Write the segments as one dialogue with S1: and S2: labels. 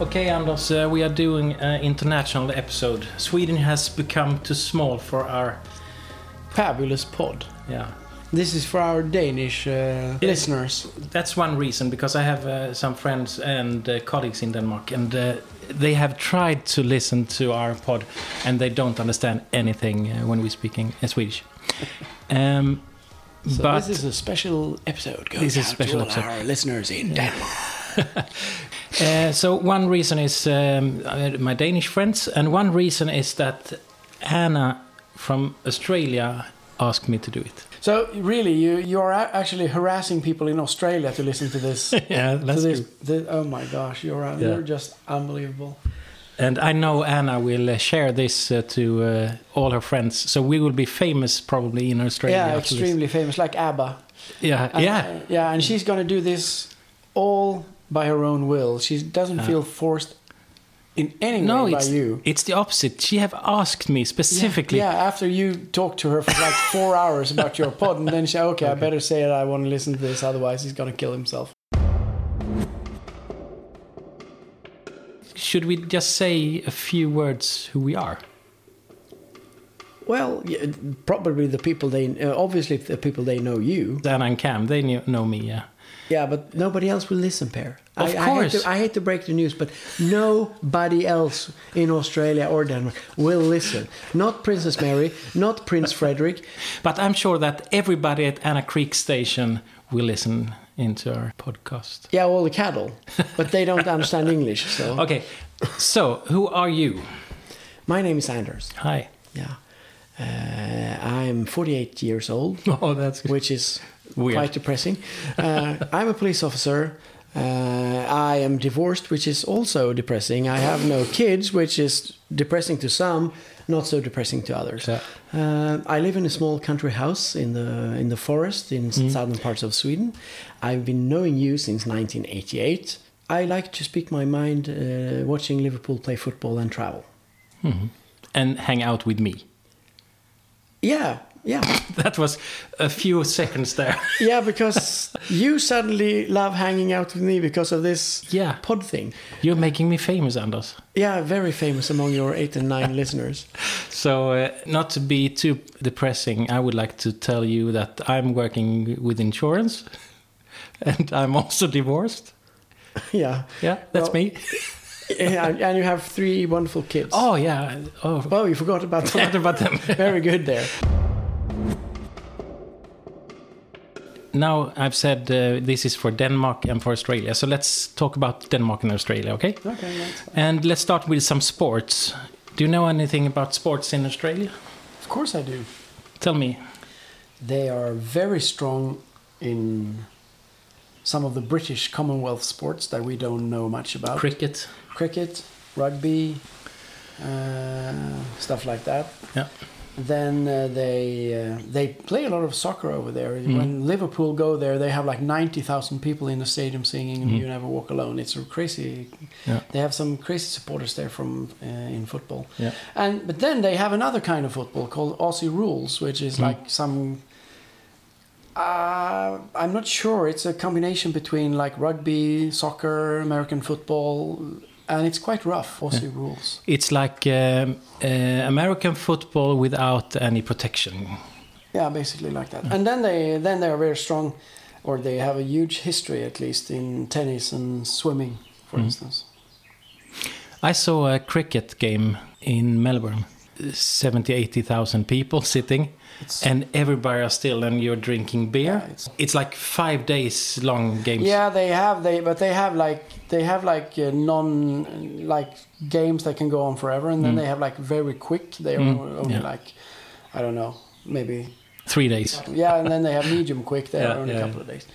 S1: Okay, Anders, uh, we are doing an international episode. Sweden has become too small for our.
S2: Fabulous pod.
S1: Yeah.
S2: This is for our Danish uh, listeners.
S1: That's one reason, because I have uh, some friends and uh, colleagues in Denmark, and uh, they have tried to listen to our pod, and they don't understand anything uh, when we're speaking uh, Swedish. Um,
S2: So
S1: but
S2: this is a special episode. Going
S1: This is
S2: out
S1: special
S2: to all
S1: episode.
S2: our listeners in Denmark.
S1: Uh, so one reason is um, uh, my Danish friends, and one reason is that Anna from Australia asked me to do it.
S2: So really, you you are a- actually harassing people in Australia to listen to this. to
S1: yeah,
S2: this, this- oh my gosh, you're uh,
S1: Yeah.
S2: you're just unbelievable.
S1: And I know Anna will uh, share this uh, to uh, all her friends, so we will be famous probably in Australia.
S2: yeah,
S1: after this.
S2: extremely famous, like ABBA.
S1: Yeah,
S2: And- uh,
S1: yeah,
S2: yeah, and she's gonna do this all by her own will. She doesn't
S1: Yeah.
S2: feel forced in any
S1: Uh. No,
S2: way by you.
S1: it's the opposite. She have asked me specifically.
S2: Yeah, after you talked to her for like four hours about your pod, and then she, okay, I better say that I want to listen to this, otherwise he's gonna kill himself.
S1: Should we just say a few words who we are?
S2: Well, yeah, probably the people they, uh, obviously the people they know you.
S1: Anna and Cam, they knew, know me. Yeah,
S2: Yeah, but nobody else will listen, Per.
S1: Of
S2: I, I hate,
S1: course.
S2: to, I hate to break the news, but nobody else in Australia or Denmark will listen. Not Princess Mary, not Prince Frederick.
S1: but I'm sure that everybody at Anna Creek Station will listen into our podcast.
S2: Yeah, all the cattle, but they don't understand English. So,
S1: Okay, so who are you?
S2: my name is Anders.
S1: Hi.
S2: Yeah, uh, I'm 48 years old,
S1: Oh, that's good.
S2: which is
S1: Weird.
S2: quite depressing. Uh, I'm a police officer. Uh, I am divorced, which is also depressing. I have no kids, which is depressing to some, not so depressing to others.
S1: Yeah.
S2: Uh, I live in a small country house in the in the forest in
S1: Mm-hmm.
S2: southern parts of Sweden. I've been knowing you since 1988. I like to speak my mind, uh, watching Liverpool play football and travel.
S1: And hang out with me.
S2: Yeah, yeah.
S1: That was a few seconds there.
S2: Yeah, because you suddenly love hanging out with me because of this
S1: Yeah.
S2: pod thing.
S1: You're making me famous, Anders.
S2: Yeah, very famous among your eight and nine listeners.
S1: So, uh, not to be too depressing, I would like to tell you that I'm working with insurance and I'm also divorced.
S2: Yeah.
S1: Yeah, that's
S2: Well-
S1: me.
S2: yeah. And and you have three wonderful kids.
S1: Oh, yeah. Oh,
S2: oh you forgot about
S1: forgot
S2: that.
S1: about them.
S2: very good there.
S1: Now, I've said uh, this is for Denmark and for Australia. So, let's talk about Denmark and Australia, okay?
S2: Okay, right.
S1: And let's start with some sports. Do you know anything about sports in Australia?
S2: Of course I do.
S1: Tell me.
S2: They are very strong in some of the British Commonwealth sports that we don't know much about.
S1: Cricket.
S2: Cricket, rugby, uh, stuff like that.
S1: Yeah.
S2: then uh, they uh, they play a lot of soccer over there.
S1: Mm-hmm.
S2: When Liverpool go there, they have like ninety thousand people in the stadium singing
S1: Mm-hmm.
S2: "You Never Walk Alone." It's a crazy.
S1: Yeah.
S2: They have some crazy supporters there from uh, in football.
S1: Yeah.
S2: And but then they have another kind of football called Aussie rules, which is like some. Uh, I'm not sure. It's a combination between like rugby, soccer, American football, and it's quite rough. Aussie rules.
S1: It's like um, uh, American football without any protection.
S2: Yeah, basically like that. And then they then they are very strong, or they have a huge history at least in tennis and swimming, for instance.
S1: I saw a cricket game in Melbourne. 70, 80,000 people sitting,
S2: It's,
S1: and everybody are still, and you're drinking beer.
S2: Yeah,
S1: it's,
S2: it's-
S1: like five days long games.
S2: yeah, they have they but they have like they have like uh, non like games that can go on forever, and then they have like very quick. They are
S1: Mm,
S2: only
S1: yeah.
S2: like I don't know maybe
S1: Three days.
S2: yeah, and then they have medium quick. They
S1: Yeah,
S2: are only
S1: yeah.
S2: a couple of days.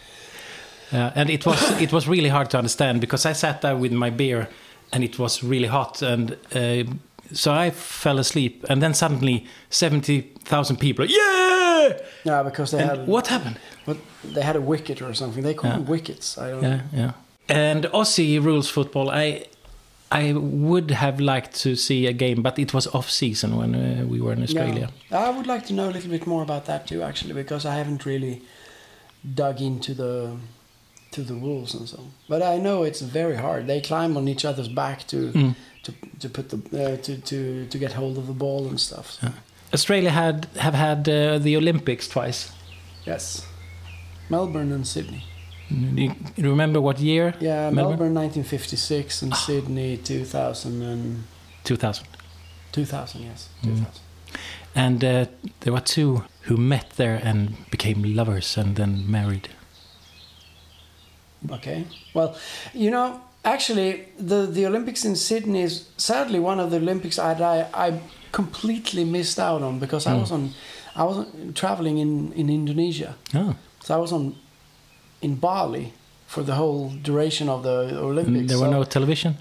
S1: Yeah, Uh, and it was it was really hard to understand because I sat there with my beer, and it was really hot, and uh, so I fell asleep. And then suddenly, seventy thousand people, yeah!
S2: Yeah, because they
S1: And
S2: had
S1: what happened?
S2: what they had a wicket or something. They call them wickets. I don't.
S1: Yeah, yeah. And Aussie rules football. I I would have liked to see a game, but it was off season when uh, we were in Australia.
S2: Yeah. I would like to know a little bit more about that too, actually, because I haven't really dug into the to the wolves and so on. But I know it's very hard. They climb on each other's back to
S1: Mm.
S2: to, to put the uh, to, to to get hold of the ball and stuff. So,
S1: Australia had have had uh, the Olympics twice.
S2: Yes, Melbourne and Sydney.
S1: Do you remember what year?
S2: Yeah,
S1: Melbourne?
S2: Melbourne, 1956 and Sydney 2000 and
S1: 2000.
S2: 2000. Yes,
S1: Mm.
S2: 2000.
S1: And uh, there were two who met there and became lovers and then married.
S2: Okay. Well, you know, actually, the the Olympics in Sydney is sadly one of the Olympics I I, I completely missed out on because I
S1: Mm.
S2: was on I was traveling in in Indonesia,
S1: Oh,
S2: so I was on in Bali for the whole duration of the Olympics.
S1: Hmm, there were
S2: so-
S1: no television.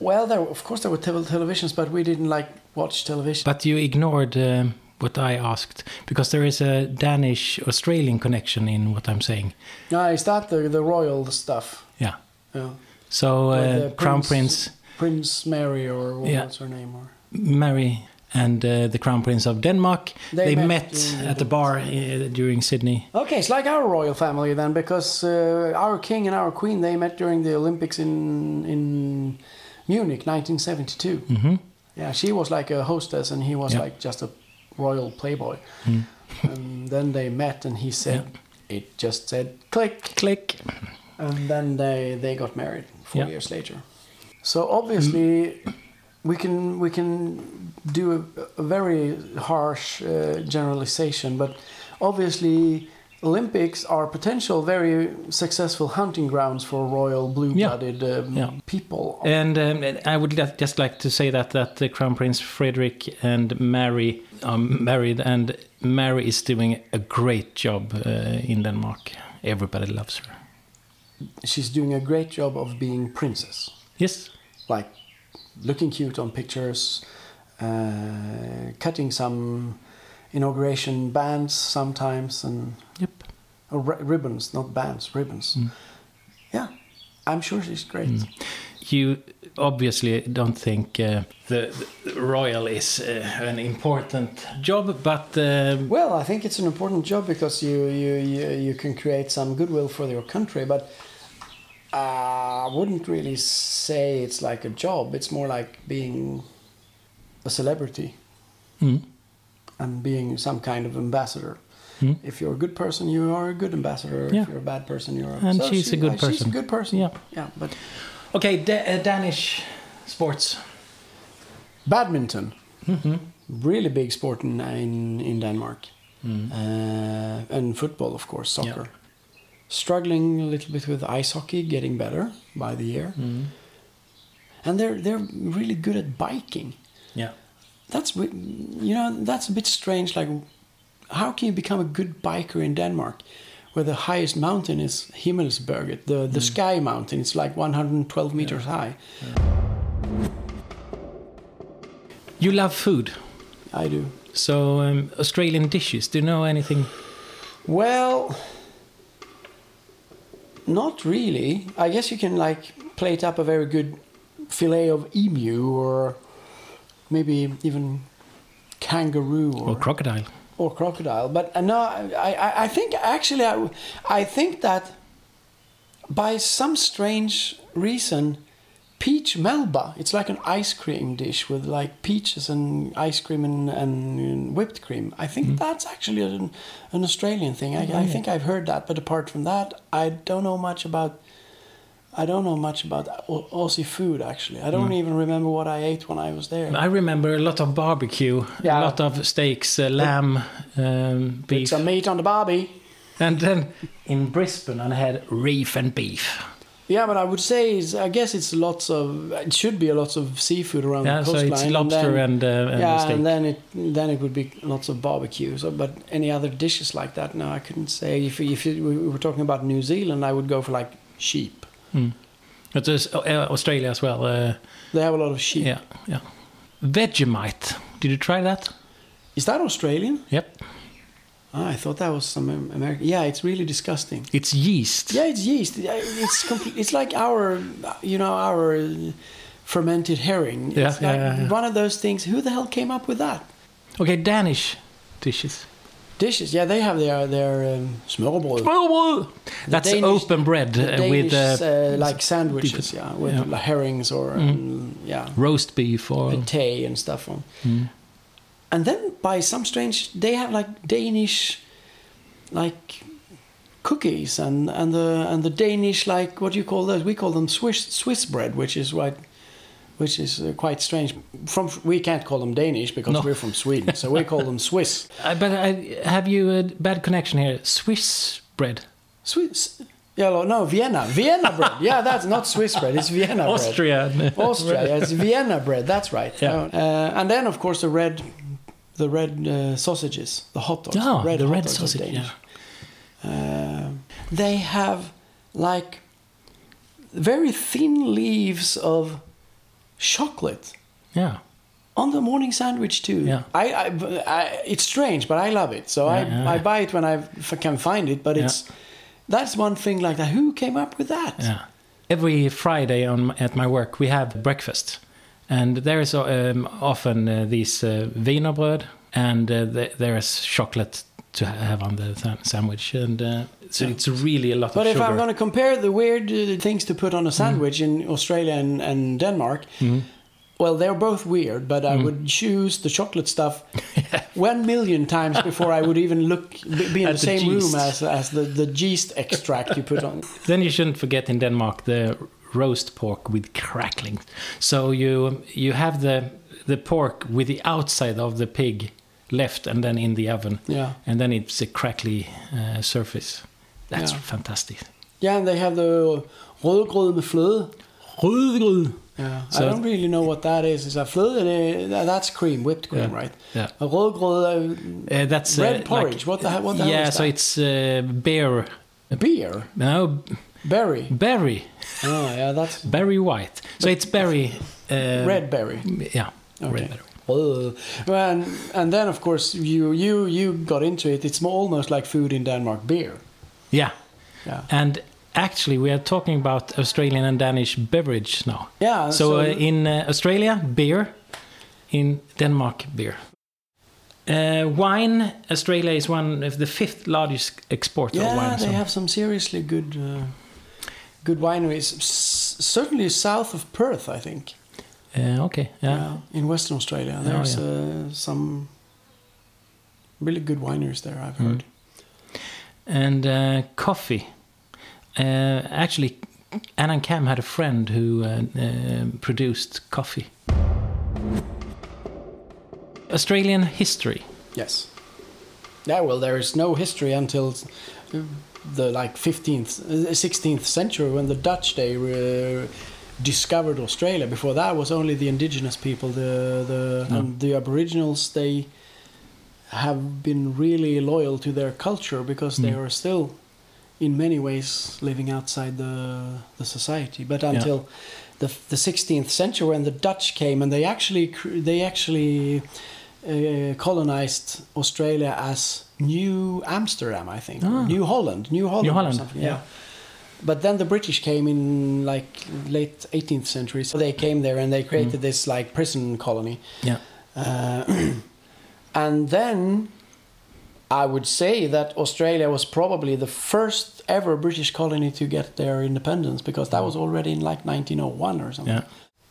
S2: Well, there were- of course there were tele- televisions, but we didn't like watch television.
S1: But you ignored um what I asked because there is a Danish Australian connection in what I'm saying.
S2: no, is that the the royal stuff?
S1: Yeah.
S2: Yeah.
S1: So
S2: Or
S1: uh,
S2: the
S1: Crown
S2: Prince-
S1: Prince
S2: Prince Mary or what-
S1: Yeah.
S2: what's her name or
S1: Mary and uh, the Crown Prince of Denmark
S2: They
S1: they,
S2: met
S1: met,
S2: during the
S1: at the bar uh, during Sydney.
S2: Okay, it's like our royal family then, because uh, our king and our queen they met during the Olympics in in Munich, 1972.
S1: hmm
S2: Yeah, she was like a hostess, and he was
S1: Yeah.
S2: like just a royal playboy.
S1: Mm.
S2: and then they met, and he said, "It just said click,"
S1: Click.
S2: and then they they got married four
S1: Yeah.
S2: years later. So obviously, we can we can do a, a very harsh uh, generalization, but obviously. Olympics are potential very successful hunting grounds for royal blue-blooded um,
S1: Yeah.
S2: people.
S1: And um, I would li- just like to say that that the Crown Prince Frederick and Mary are married, and Mary is doing a great job uh, in Denmark. Everybody loves her.
S2: She's doing a great job of being princess,
S1: Yes,
S2: like looking cute on pictures, uh, cutting some inauguration bands sometimes, and
S1: yep.
S2: Or Oh, ri- ribbons, not bands, ribbons.
S1: Mm.
S2: Yeah, I'm sure she's great.
S1: You obviously don't think uh, the, the royal is uh, an important job, but um
S2: Well, I think it's an important job because you you, you, you can create some goodwill for your country, but uh, I wouldn't really say it's like a job. It's more like being a celebrity Hmm?
S1: mm,
S2: and being some kind of ambassador.
S1: Mm.
S2: If you're a good person, you are a good ambassador.
S1: Yeah.
S2: If you're a bad person, you're a
S1: And she's a good
S2: uh, She's a
S1: person.
S2: good person.
S1: Yeah.
S2: Yeah, but
S1: okay, da- uh, Danish sports.
S2: badminton really big sport in in, in denmark uh, and football of course soccer struggling a little bit with ice hockey getting better by the year and they're they're really good at biking
S1: Yeah,
S2: that's wi- you know that's a bit strange like how can you become a good biker in denmark where the highest mountain is himmelsberget the, the sky mountain it's like 112 meters high
S1: you love food,
S2: i do
S1: so um, Australian dishes. Do you know anything?
S2: Well, not really. I guess you can like plate up a very good fillet of emu or maybe even kangaroo or,
S1: Or crocodile?
S2: or crocodile. But uh, no, I, I, I think actually I, w- I think that by some strange reason, peach melba. It's like an ice cream dish with like peaches and ice cream and, and whipped cream. I think that's actually an, an Australian thing. I, I think I've heard that. But apart from that, I don't know much about. I don't know much about Au- Aussie food actually. I don't even remember what I ate when I was there.
S1: I remember a lot of barbecue, a
S2: Yeah.
S1: lot of steaks, uh, lamb, um, beef,
S2: Some meat on the barbie.
S1: and then in Brisbane I had reef and beef.
S2: Yeah, but I would say it's, I guess it's lots of it should be lots of seafood around
S1: Yeah,
S2: the
S1: so
S2: coastline.
S1: it's lobster
S2: and,
S1: and, uh,
S2: then,
S1: and
S2: yeah,
S1: steak.
S2: and then it then it would be lots of barbecue. So, but any other dishes like that? No, I couldn't say. If if you- we were talking about New Zealand, I would go for like sheep.
S1: Mm. But there's uh, uh, Australia as well. Uh,
S2: They have a lot of sheep.
S1: yeah, yeah. Vegemite. Did you try that?
S2: Is that Australian?
S1: Yep.
S2: Ah, I thought that was some Am- American. Yeah, it's really disgusting.
S1: It's yeast.
S2: Yeah, it's yeast. Yeah, It's complete. It's like our, you know, our fermented herring.
S1: Yeah,
S2: it's
S1: yeah,
S2: like
S1: yeah, yeah.
S2: One of those things. Who the hell came up with that?
S1: Okay, Danish dishes.
S2: Dishes, yeah, they have their their um, smørrebrød.
S1: That's
S2: Danish-
S1: open bread uh,
S2: Danish,
S1: Oh, with uh,
S2: uh, like sandwiches, yeah, with
S1: yeah. Mm-hmm.
S2: like herrings or um, yeah,
S1: roast beef or Hmm.
S2: pate and stuff on. And then by some strange, they have like Danish, like cookies and and the and the Danish like what do you call those? We call them Swiss Swiss bread, which is like. Which is uh, quite strange. From we can't call them Danish because
S1: No.
S2: we're from Sweden, so we call them Swiss.
S1: I, but I have you a bad connection here. Swiss bread,
S2: Swiss. Yeah, no, no, Vienna, Vienna bread. Yeah, that's not Swiss bread. It's Vienna bread.
S1: Austria.
S2: Austria, yes, Vienna bread. That's right.
S1: Yeah.
S2: Uh, and then, of course, the red, the red uh, sausages, the hot dogs.
S1: Ah, the
S2: hot
S1: red
S2: dogs are
S1: sausage,
S2: Danish. Um, they have like very thin leaves of chocolate
S1: yeah.
S2: on the morning sandwich too.
S1: Yeah.
S2: I, I, I- it's strange, but I love it. So I,
S1: Yeah, yeah.
S2: I buy it when I f- can find it. But it's that's one thing like that. Who came up with that?
S1: Yeah. Every Friday on at my work we have breakfast, and there is um, often uh, these uh, wienerbröd, and uh, th- there is chocolate to ha- have on the sa- sandwich, and uh, so it's really a lot of
S2: But if
S1: sugar. Mm.
S2: I'm going to compare the weird uh, things to put on a sandwich in Australia and, and Denmark,
S1: Mm-hmm.
S2: well, they're both weird, but
S1: Mm.
S2: I would choose the chocolate stuff one million times before I would even look be be in
S1: At
S2: the,
S1: the
S2: same room as,
S1: yeast.
S2: as the, the yeast extract you put on.
S1: Then you shouldn't forget in Denmark the roast pork with crackling. So you you have the the pork with the outside of the pig left and then in the oven,
S2: Yeah,
S1: and then it's a crackly uh, surface. That's
S2: Yeah.
S1: fantastic.
S2: yeah, and they have the rødgrød med fløde. Yeah, I
S1: So-
S2: don't really know what that is. Is that fløde? Uh, that- That's cream, whipped cream,
S1: Yeah.
S2: right?
S1: Yeah.
S2: A rødgrød uh,
S1: Uh, that's
S2: Red
S1: uh,
S2: porridge,
S1: Like,
S2: what the hell- what the hell
S1: yeah,
S2: is
S1: so
S2: that?
S1: it's uh, bear.
S2: beer,
S1: No,
S2: berry.
S1: berry,
S2: Oh, yeah, that's
S1: berry white. So it's berry. Uh,
S2: red berry.
S1: Yeah, red berry.
S2: Well, and, and then of course you you you got into it. It's more, almost like food in Denmark, beer.
S1: Yeah,
S2: Yeah.
S1: and actually we are talking about Australian and Danish beverage now.
S2: Yeah.
S1: So, uh, in uh, Australia, beer. In Denmark, beer. Uh, wine. Australia is one of the fifth largest exporter
S2: yeah,
S1: of wine.
S2: they
S1: so-
S2: have some seriously good uh, good wineries. S- certainly south of Perth, I think.
S1: Uh, okay. yeah.
S2: in Western Australia,
S1: Oh,
S2: there's uh, some really good wineries there. I've heard.
S1: and uh, coffee. Uh, actually, Annan Cam had a friend who uh, uh, produced coffee. Australian history.
S2: Yes. Yeah. Well, there is no history until. uh, The like 15th, uh, 16th century when the Dutch they uh, discovered Australia. Before that was only the indigenous people, the the and the Aboriginals. They have been really loyal to their culture because they are still, in many ways, living outside the the society. But until the the 16th century, when the Dutch came and they actually cr- they actually uh, colonized Australia as New Amsterdam, I think, or
S1: Ah.
S2: New Holland, New Holland,
S1: New
S2: or
S1: Holland,
S2: something,
S1: yeah.
S2: yeah. But then the British came in like late 18th century, so they came there and they
S1: Mm-hmm.
S2: created this like prison colony.
S1: Yeah.
S2: Uh, and then I would say that Australia was probably the first ever British colony to get their independence because that was already in like 1901 or something.
S1: Mm-hmm. Yeah. Mm-hmm.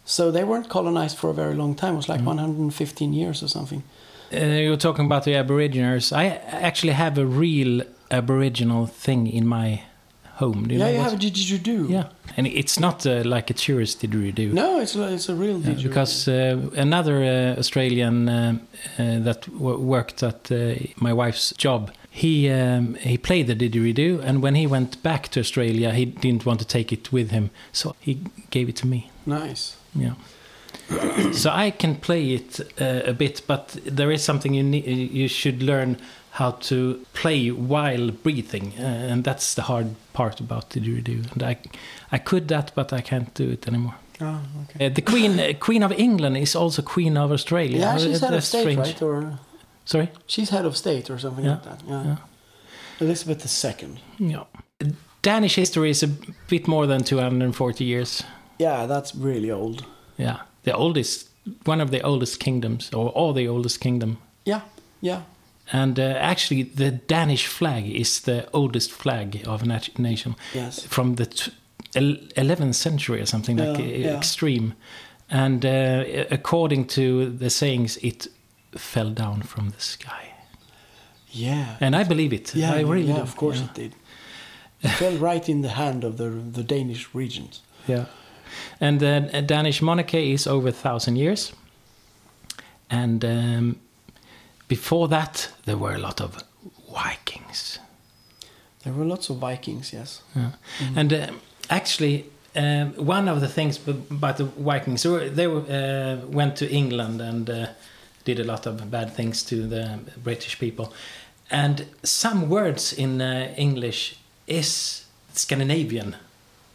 S2: So they weren't colonized for a very long time. It was like 115 years or something.
S1: Uh, you were talking about the Aboriginals. I actually have a real Aboriginal thing in my home. Do you
S2: yeah,
S1: know
S2: you
S1: what-
S2: have a did you do?
S1: Yeah, and it's not uh, like a tourist didgeridoo.
S2: No, it's a- it's a real
S1: Yeah,
S2: didgeridoo.
S1: because uh, another uh, Australian uh, uh, that w- worked at uh, my wife's job, he um, he played the didgeridoo, and when he went back to Australia, he didn't want to take it with him, so he gave it to me.
S2: nice.
S1: Yeah. so I can play it uh, a bit, but there is something you need. You should learn how to play while breathing, uh, and that's the hard part about didgeridoo. And I, I could that, but I can't do it anymore.
S2: Oh, okay.
S1: Uh, the Queen uh, Queen of England is also Queen of Australia.
S2: Yeah,
S1: Uh,
S2: she's head of
S1: that's
S2: state,
S1: strange.
S2: right? Or
S1: Sorry.
S2: she's head of state or something
S1: Yeah,
S2: like that. Yeah.
S1: yeah.
S2: Elizabeth II.
S1: Yeah. Danish history is a bit more than 240 years.
S2: Yeah, that's really old.
S1: Yeah, the oldest, one of the oldest kingdoms, or or the oldest kingdom.
S2: Yeah, yeah.
S1: And uh, actually, the Danish flag is the oldest flag of a nat- nation
S2: Yes.
S1: from the t- el- 11th century or something like
S2: Yeah,
S1: uh,
S2: yeah.
S1: extreme. And uh, according to the sayings, it fell down from the sky.
S2: Yeah.
S1: And I believe it.
S2: yeah,
S1: I really
S2: yeah,
S1: do.
S2: of course
S1: Yeah.
S2: it did. It fell right in the hand of the the Danish regent.
S1: Yeah. And the uh, Danish monarchy is over a thousand years. And um, before that, there were a lot of Vikings.
S2: There were lots of Vikings, yes.
S1: Yeah. And um actually, um, one of the things b- about the Vikings, they, were, they were, uh, went to England and uh, did a lot of bad things to the British people. And some words in uh, English is Scandinavian.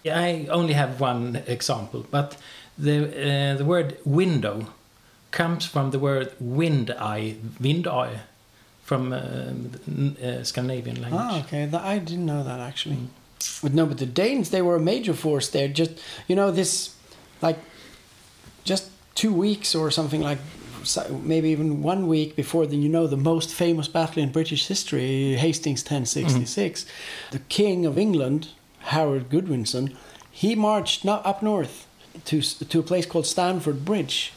S1: Yeah, I only have one example, but the uh, the word window comes from the word wind eye, wind eye, from uh, n- uh, Scandinavian language.
S2: Ah, okay. Th- I didn't know that actually. Mm. But no, but the Danes they were a major force there. Just you know this, like, just two weeks or something like, so- maybe even one week before the you know the most famous battle in British history, Hastings 1066. The King of England, Harold Goodwinson, he marched no- up north to s- to a place called Stamford Bridge,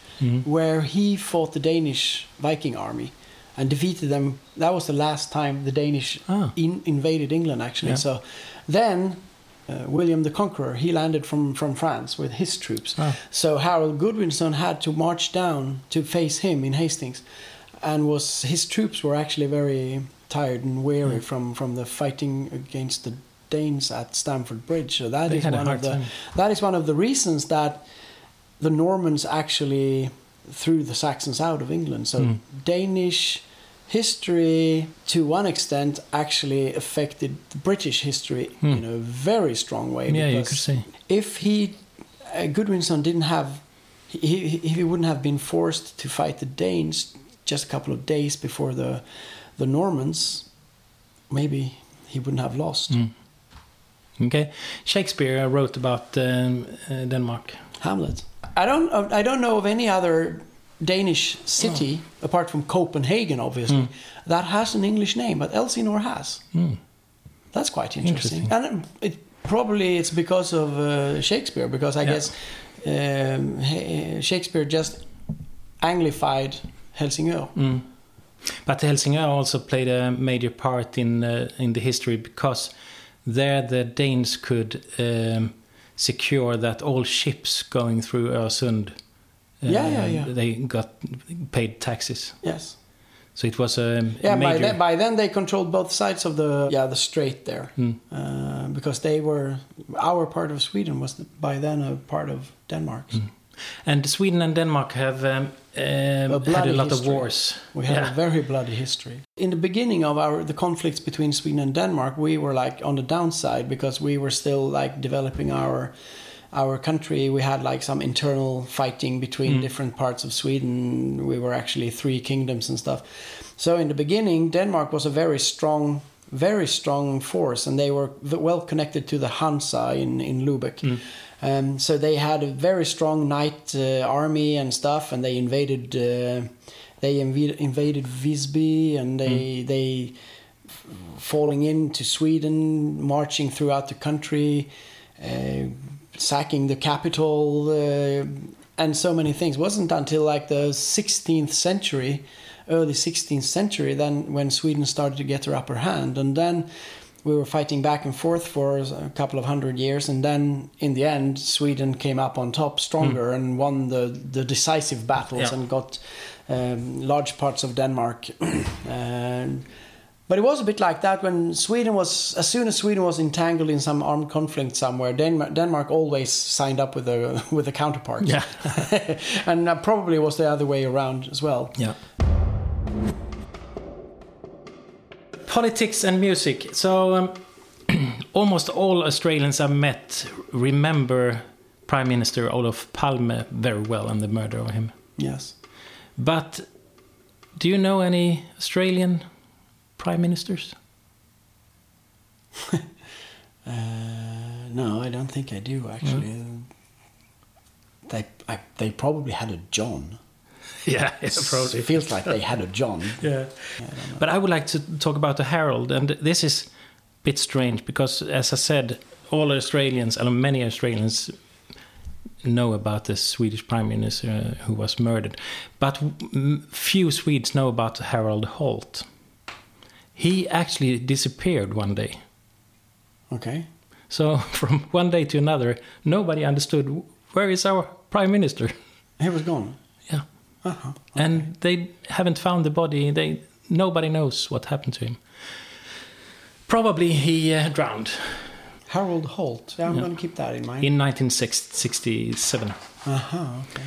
S2: where he fought the Danish Viking army. And defeated them. That was the last time the Danish
S1: Ah.
S2: in, invaded England actually.
S1: Yeah.
S2: So then uh, William the Conqueror he landed from from France with his troops.
S1: Ah.
S2: So Harold Godwinson had to march down to face him in Hastings, and was his troops were actually very tired and weary from from the fighting against the Danes at Stamford Bridge. So that
S1: They
S2: is
S1: had a
S2: one
S1: hard
S2: of the
S1: time.
S2: that is one of the reasons that the Normans actually threw the Saxons out of England. So
S1: Mm.
S2: Danish history, to one extent, actually affected the British history
S1: Mm.
S2: in a very strong way.
S1: yeah, you
S2: because
S1: could say.
S2: If he, uh, Goodwinson didn't have, he, he, if he wouldn't have been forced to fight the Danes just a couple of days before the, the Normans, maybe he wouldn't have lost.
S1: Mm. Okay, Shakespeare wrote about um, uh, Denmark.
S2: Hamlet. I don't. uh, I don't know of any other Danish city apart from Copenhagen, obviously, that has an English name, but Elsinore has.
S1: Mm.
S2: That's quite interesting. And um, it, probably it's because of uh, Shakespeare, because I
S1: Yeah.
S2: guess um, he- Shakespeare just anglified Helsingør.
S1: Mm. But Helsingør also played a major part in uh, in the history because there the Danes could um, secure that all ships going through Öresund, um,
S2: Yeah, yeah, yeah.
S1: they got paid taxes.
S2: Yes.
S1: So it was a
S2: Yeah, by
S1: major.
S2: then, by then they controlled both sides of the yeah the strait there,
S1: Mm.
S2: uh, because they were our part of Sweden was by then a part of Denmark.
S1: and Sweden and Denmark have um, um, had
S2: bloody
S1: a lot of
S2: history.
S1: wars.
S2: We have
S1: Yeah.
S2: a very bloody history. In the beginning of our the conflicts between Sweden and Denmark, we were like on the downside because we were still like developing our our country. We had like some internal fighting between different parts of Sweden. We were actually three kingdoms and stuff. So in the beginning, Denmark was a very strong very strong force and they were v- well connected to the Hansa in, in Lubeck. Um, so they had a very strong knight uh, army and stuff and they invaded uh, they inv- invaded Visby and they they f- falling into Sweden, marching throughout the country, uh, sacking the capital, uh, and so many things. It wasn't until like the 16th century, early 16th century, then when Sweden started to get their upper hand, and then we were fighting back and forth for a couple of hundred years, and then in the end, Sweden came up on top, stronger, and won the the decisive battles
S1: Yeah.
S2: and got um, large parts of Denmark. uh, and, but it was a bit like that when Sweden was, as soon as Sweden was entangled in some armed conflict somewhere, Denmark, Denmark always signed up with a with a counterpart.
S1: Yeah.
S2: and that probably was the other way around as well.
S1: Yeah. Politics and music. So, um, almost all Australians I've met remember Prime Minister Olof Palme very well and the murder of him.
S2: Yes.
S1: But do you know any Australian prime ministers?
S2: Uh, no, I don't think I
S1: Mm.
S2: do actually. They I, they probably had a John.
S1: yeah, yeah, probably.
S2: It feels like they had a John.
S1: yeah. but I would like to talk about the Herald, and this is a bit strange because, as I said, all Australians and many Australians know about the Swedish prime minister uh, who was murdered, but m- few Swedes know about Harold Holt. He actually disappeared one day.
S2: Okay.
S1: So from one day to another, nobody understood where is our prime minister.
S2: He was gone.
S1: Yeah.
S2: Uh-huh.
S1: and they haven't found the body. They nobody knows what happened to him. Probably he uh, drowned
S2: Harold Holt. Yeah, I'm going to keep that in mind.
S1: in 1967.
S2: uh-huh. Okay.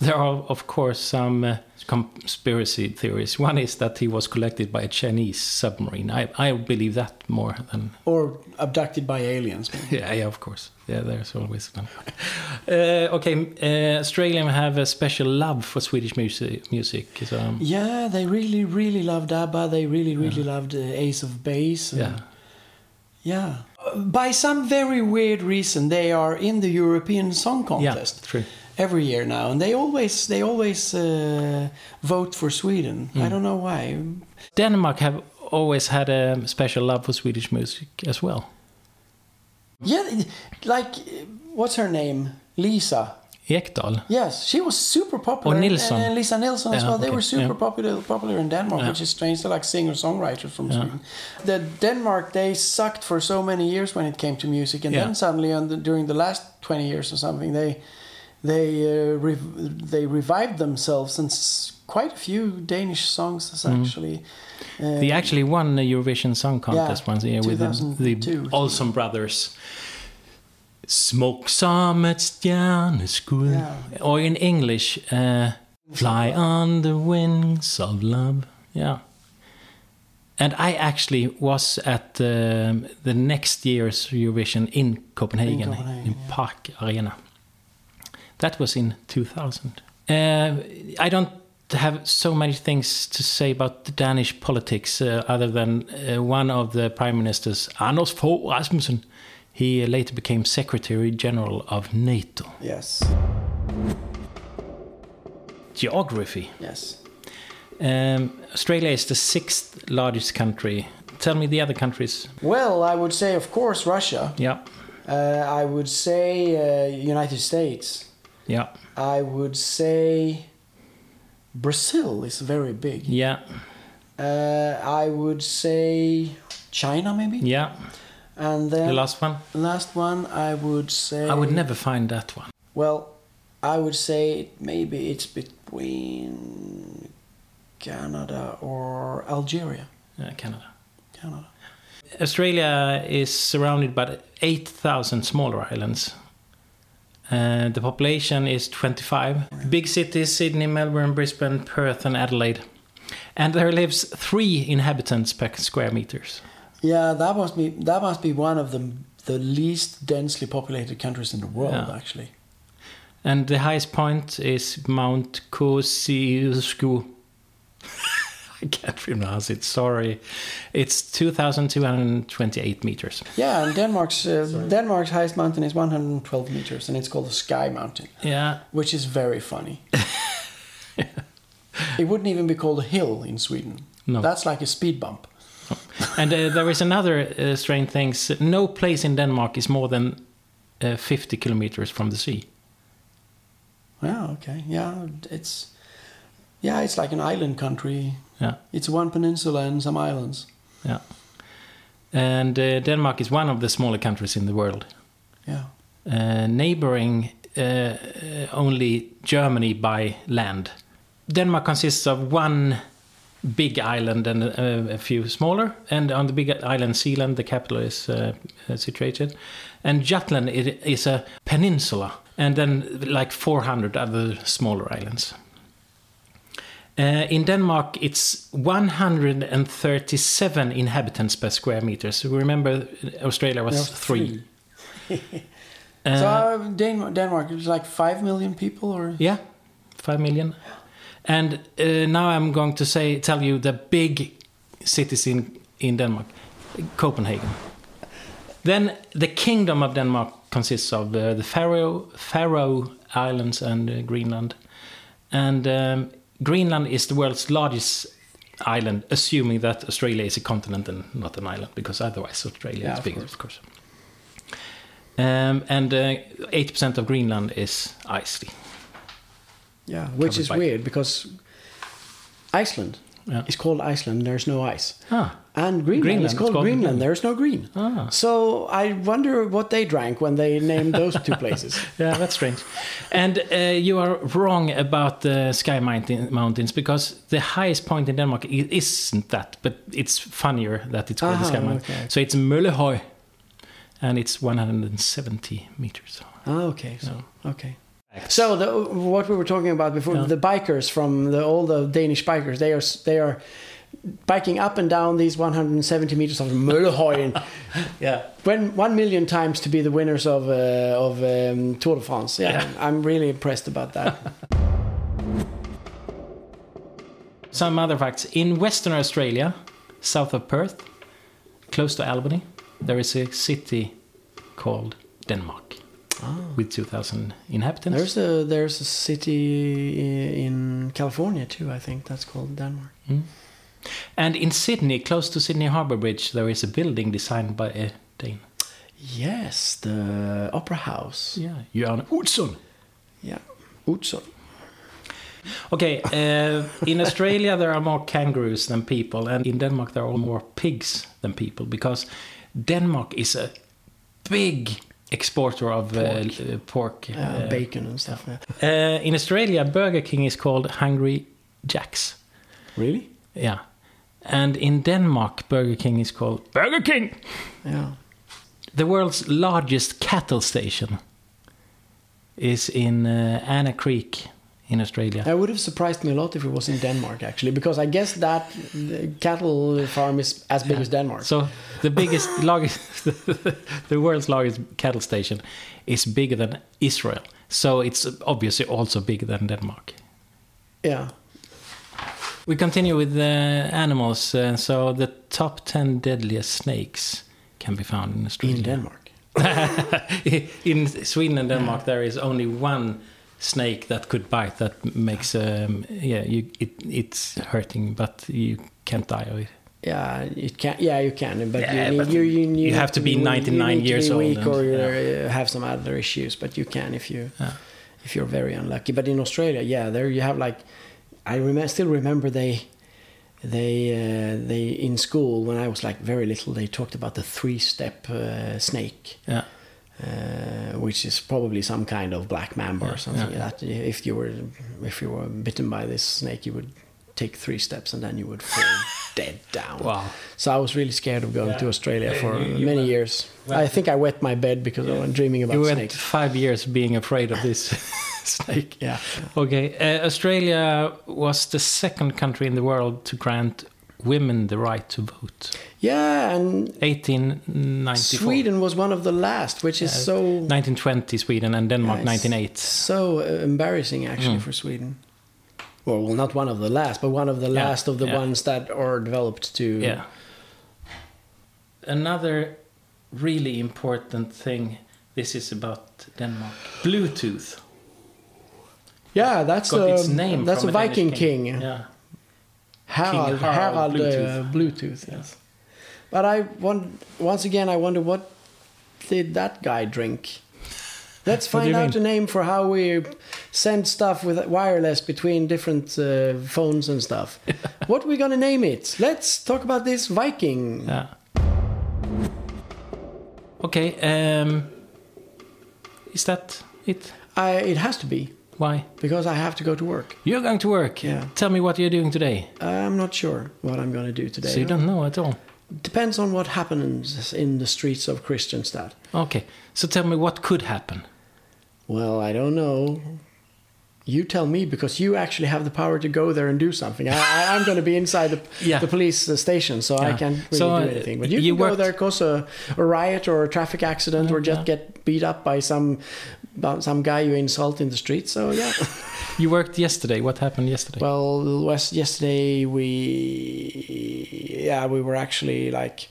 S1: There are, of course, some uh, conspiracy theories. One is that he was collected by a Chinese submarine. I, I believe that more than
S2: Or abducted by aliens.
S1: yeah, yeah, of course. Yeah, there's always one. Uh, okay, uh, Australians have a special love for Swedish music. Music, so, um,
S2: Yeah, they really, really loved ABBA. They really, really loved uh, Ace of Base. and-
S1: yeah.
S2: Yeah. Uh, By some very weird reason, they are in the European Song Contest
S1: true.
S2: every year now, and they always they always uh, vote for Sweden. I don't know why.
S1: Denmark have always had a special love for Swedish music as well.
S2: Yeah, like uh, what's her name? Lisa.
S1: Ekdal.
S2: Yes, she was super popular.
S1: Or
S2: and-
S1: Nilsson.
S2: And, Lisa Nilsson as
S1: Yeah,
S2: well. They
S1: okay,
S2: were super
S1: yeah.
S2: popular popular in Denmark, which is strange. They're like singer songwriters from Sweden. The Denmark they sucked for so many years when it came to music, and
S1: Yeah.
S2: then suddenly on the, during the last twenty years or something, they they uh, rev- they revived themselves, and s- quite a few Danish songs is actually. Uh,
S1: They actually won Mm. the Eurovision Song Contest
S2: Yeah,
S1: once a year with the, the
S2: 2002.
S1: Olsen brothers. Smoke some at Stjärneskull.
S2: Yeah.
S1: Or in English, uh, Fly on the Wings of Love. Yeah. And I actually was at um, the next year's Eurovision in Copenhagen, in,
S2: Copenhagen,
S1: Park Arena. That was in 2000. Uh, I don't have so many things to say about the Danish politics uh, other than uh, one of the prime ministers, Anders Fogh Rasmussen. He later became Secretary General of NATO.
S2: yes,
S1: Geography.
S2: yes.
S1: Um, Australia is the sixth largest country. Tell me the other countries.
S2: Well, I would say, of course, Russia.
S1: Yeah,
S2: Uh, I would say uh, United States.
S1: yeah,
S2: I would say Brazil is very big.
S1: yeah,
S2: Uh, I would say China maybe.
S1: yeah.
S2: And
S1: The
S2: then
S1: last one.
S2: last one, I would say.
S1: I would never find that one.
S2: Well, I would say maybe it's between Canada or Algeria.
S1: Uh, Canada.
S2: Canada.
S1: Australia is surrounded by 8,000 smaller islands. Uh, the population is 25. Big cities Sydney, Melbourne, Brisbane, Perth, and Adelaide. And there lives three inhabitants per square meters.
S2: Yeah, that must be that must be one of the the least densely populated countries in the world,
S1: Yeah.
S2: actually.
S1: And the highest point is Mount Kosciuszko. I can't pronounce it, sorry. It's 2,228 meters.
S2: Yeah, and Denmark's uh, Denmark's highest mountain is 112 meters, and it's called the Sky Mountain.
S1: Yeah,
S2: which is very funny. it wouldn't even be called a hill in Sweden.
S1: No.
S2: That's like a speed bump.
S1: And uh, there is another uh, strange thing. S- No place in Denmark is more than uh, 50 kilometers from the sea.
S2: Yeah, okay. Yeah, it's yeah, it's like an island country.
S1: Yeah,
S2: It's one peninsula and some islands.
S1: yeah. And uh, Denmark is one of the smaller countries in the world,
S2: Yeah.
S1: uh, neighboring uh, uh, only Germany by land. Denmark consists of one big island and uh, a few smaller. And on the big island, Sealand, the capital, is uh, uh, situated. And Jutland it is a peninsula, and then like 400 other smaller islands. Uh, in Denmark, it's 137 inhabitants per square meter. So remember, Australia was
S2: There's
S1: three. Uh,
S2: so uh, Dan- Denmark is like 5 million people or
S1: Yeah, five million. And uh, now I'm going to say, tell you the big cities in, in Denmark, Copenhagen. Then the kingdom of Denmark consists of uh, the Faroe, Faroe Islands and uh, Greenland, And um, Greenland is the world's largest island, assuming that Australia is a continent and not an island, because otherwise Australia
S3: Yeah,
S1: is
S3: of
S1: bigger,
S3: course.
S1: of course. Um, and eighty percent of Greenland is icy.
S2: Yeah, which
S1: Covered
S2: is
S1: by-
S2: weird because Iceland
S1: Yeah.
S2: is called Iceland. There's no ice.
S1: Ah,
S2: And Greenland,
S1: Greenland,
S2: is
S1: it's
S2: called,
S1: called
S2: Greenland.
S1: Greenland.
S2: There's no green.
S1: Ah.
S2: So I wonder what they drank when they named those two places.
S1: yeah, that's strange. And uh, you are wrong about the sky mountain, mountains because the highest point in Denmark i- isn't that, but it's funnier that it's called the
S2: Ah,
S1: sky mountain.
S2: okay.
S1: So it's Møllehøj, and it's 170 meters.
S2: Ah, okay. So okay.
S1: Facts.
S2: So the, what we were talking about before,
S1: Yeah.
S2: the bikers from the all the Danish bikers, they are s- they are biking up and down these 170 meters of Møllehojen,
S1: Yeah.
S2: when one million times to be the winners of uh, of um, Tour de France. Yeah, I'm really impressed about that.
S1: Some other facts. In Western Australia, south of Perth, close to Albany, there is a city called Denmark with 2,000 inhabitants.
S2: Ah. there's a there's a city i- in California too. I think that's called Denmark.
S1: and in Sydney, close to Sydney Harbour Bridge, there is a building designed by a Dane.
S2: Yes, the Opera House.
S1: Yeah, Jan Olsson.
S2: Yeah, uh, Utzon.
S1: Okay, uh, in Australia there are more kangaroos than people, and in Denmark there are more pigs than people because Denmark is a big exporter of pork. Uh, pork
S2: Yeah,
S1: uh,
S2: bacon and stuff. Yeah.
S1: Uh, in Australia, Burger King is called Hungry Jacks.
S2: Really?
S1: Yeah. And in Denmark, Burger King is called Burger King,
S2: Yeah.
S1: the world's largest cattle station. Is in uh, Anna Creek in Australia.
S2: That would have surprised me a lot if it was in Denmark, actually, because I guess that the cattle farm is as big as Denmark.
S1: So the biggest, largest, the world's largest cattle station is bigger than Israel. So it's obviously also bigger than Denmark.
S2: yeah.
S1: We continue with uh, animals. Uh, so the top 10 deadliest snakes can be found in Australia.
S2: In Denmark.
S1: in Sweden and Denmark, there is only one snake that could bite that makes um, yeah you, it, it's hurting, but you can't die of it.
S2: Yeah, it can. Yeah, you can, but
S1: Yeah,
S2: you need
S1: but
S2: you, you,
S1: you have to be
S2: weak-
S1: 99
S2: you need
S1: years
S2: to
S1: old
S2: be weak
S1: and-
S2: or uh, have some other issues. But you can if you
S1: Yeah.
S2: if you're very unlucky. But in Australia, yeah, there you have like I remember still remember they they uh, they in school when I was like very little they talked about the three step uh, snake.
S1: Yeah.
S2: uh, which is probably some kind of black mamba
S1: Yeah,
S2: or something.
S1: yeah.
S2: That if you were if you were bitten by this snake, you would take three steps and then you would fall dead down.
S1: Wow.
S2: So I was really scared of going
S1: Yeah.
S2: to Australia
S1: Yeah,
S2: for
S1: you- you
S2: many
S1: went-
S2: years.
S1: went-
S2: I think I wet my bed because I was dreaming about
S1: You went
S2: snakes.
S1: five years being afraid of this snake.
S2: Yeah.
S1: Okay, uh, Australia was the second country in the world to grant women the right to vote.
S2: Yeah, and
S1: 1894.
S2: Sweden was one of the last, which is
S1: Yeah.
S2: so
S1: 1920 Sweden and Denmark
S2: Yeah, it's
S1: 1908.
S2: so uh, embarrassing actually
S1: Mm.
S2: for Sweden. Well, well, not one of the last, but one of the
S1: Yeah,
S2: last of the
S1: yeah.
S2: ones that are developed to
S1: Yeah. Another really important thing. This is about Denmark. Bluetooth
S2: Yeah, that's
S1: got
S2: a,
S1: its name.
S2: that's
S1: from
S2: a Viking
S1: Danish
S2: king.
S1: Yeah.
S2: Harald,
S1: King Harald
S2: Harald,
S1: Bluetooth.
S2: Uh, Bluetooth. Yes. But I won once again. I wonder what did that guy drink. Let's
S1: What do
S2: find
S1: you
S2: out a name for how we send stuff with wireless between different uh, phones and stuff. what we gonna name it? Let's talk about this Viking.
S1: Yeah. Okay. Um, is that it?
S2: I, it has to be
S1: Why?
S2: because I have to go to work.
S1: You're going to work.
S2: Yeah.
S1: Tell me what you're doing today.
S2: I'm not sure what I'm gonna do today.
S1: So you don't know at all.
S2: Depends on what happens in the streets of Kristianstad.
S1: Okay. So tell me what could happen.
S2: Well, I don't know. You tell me because you actually have the power to go there and do something. I, I, I'm going to be inside the,
S1: Yeah.
S2: the police uh, station, so I
S1: Yeah.
S2: can't really
S1: So,
S2: do
S1: uh,
S2: anything. But you,
S1: you
S2: can go
S1: worked-
S2: there, cause a, a riot or a traffic accident, or just get beat up by some by some guy you insult in the street. So yeah.
S1: You worked yesterday. What happened yesterday?
S2: well, West yesterday we yeah we were actually like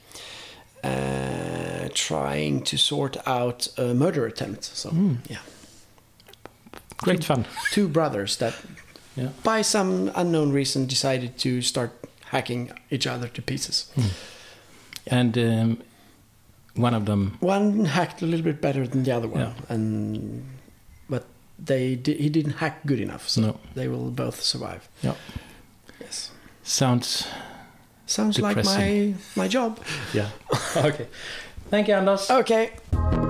S2: uh, trying to sort out a
S1: Hmm.
S2: murder attempt. So yeah
S1: Great fun.
S2: two brothers that
S1: Yeah.
S2: by some unknown reason, decided to start hacking each other to pieces.
S1: And um, one of them,
S2: One hacked a little bit better than the other one,
S1: Yeah.
S2: and but they di- he didn't hack good enough, so
S1: No.
S2: they will both survive.
S1: Yeah.
S2: Yes.
S1: sounds.
S2: Sounds like my
S1: Depressing.
S2: my job.
S1: Yeah. okay. Thank you, Anders.
S2: Okay.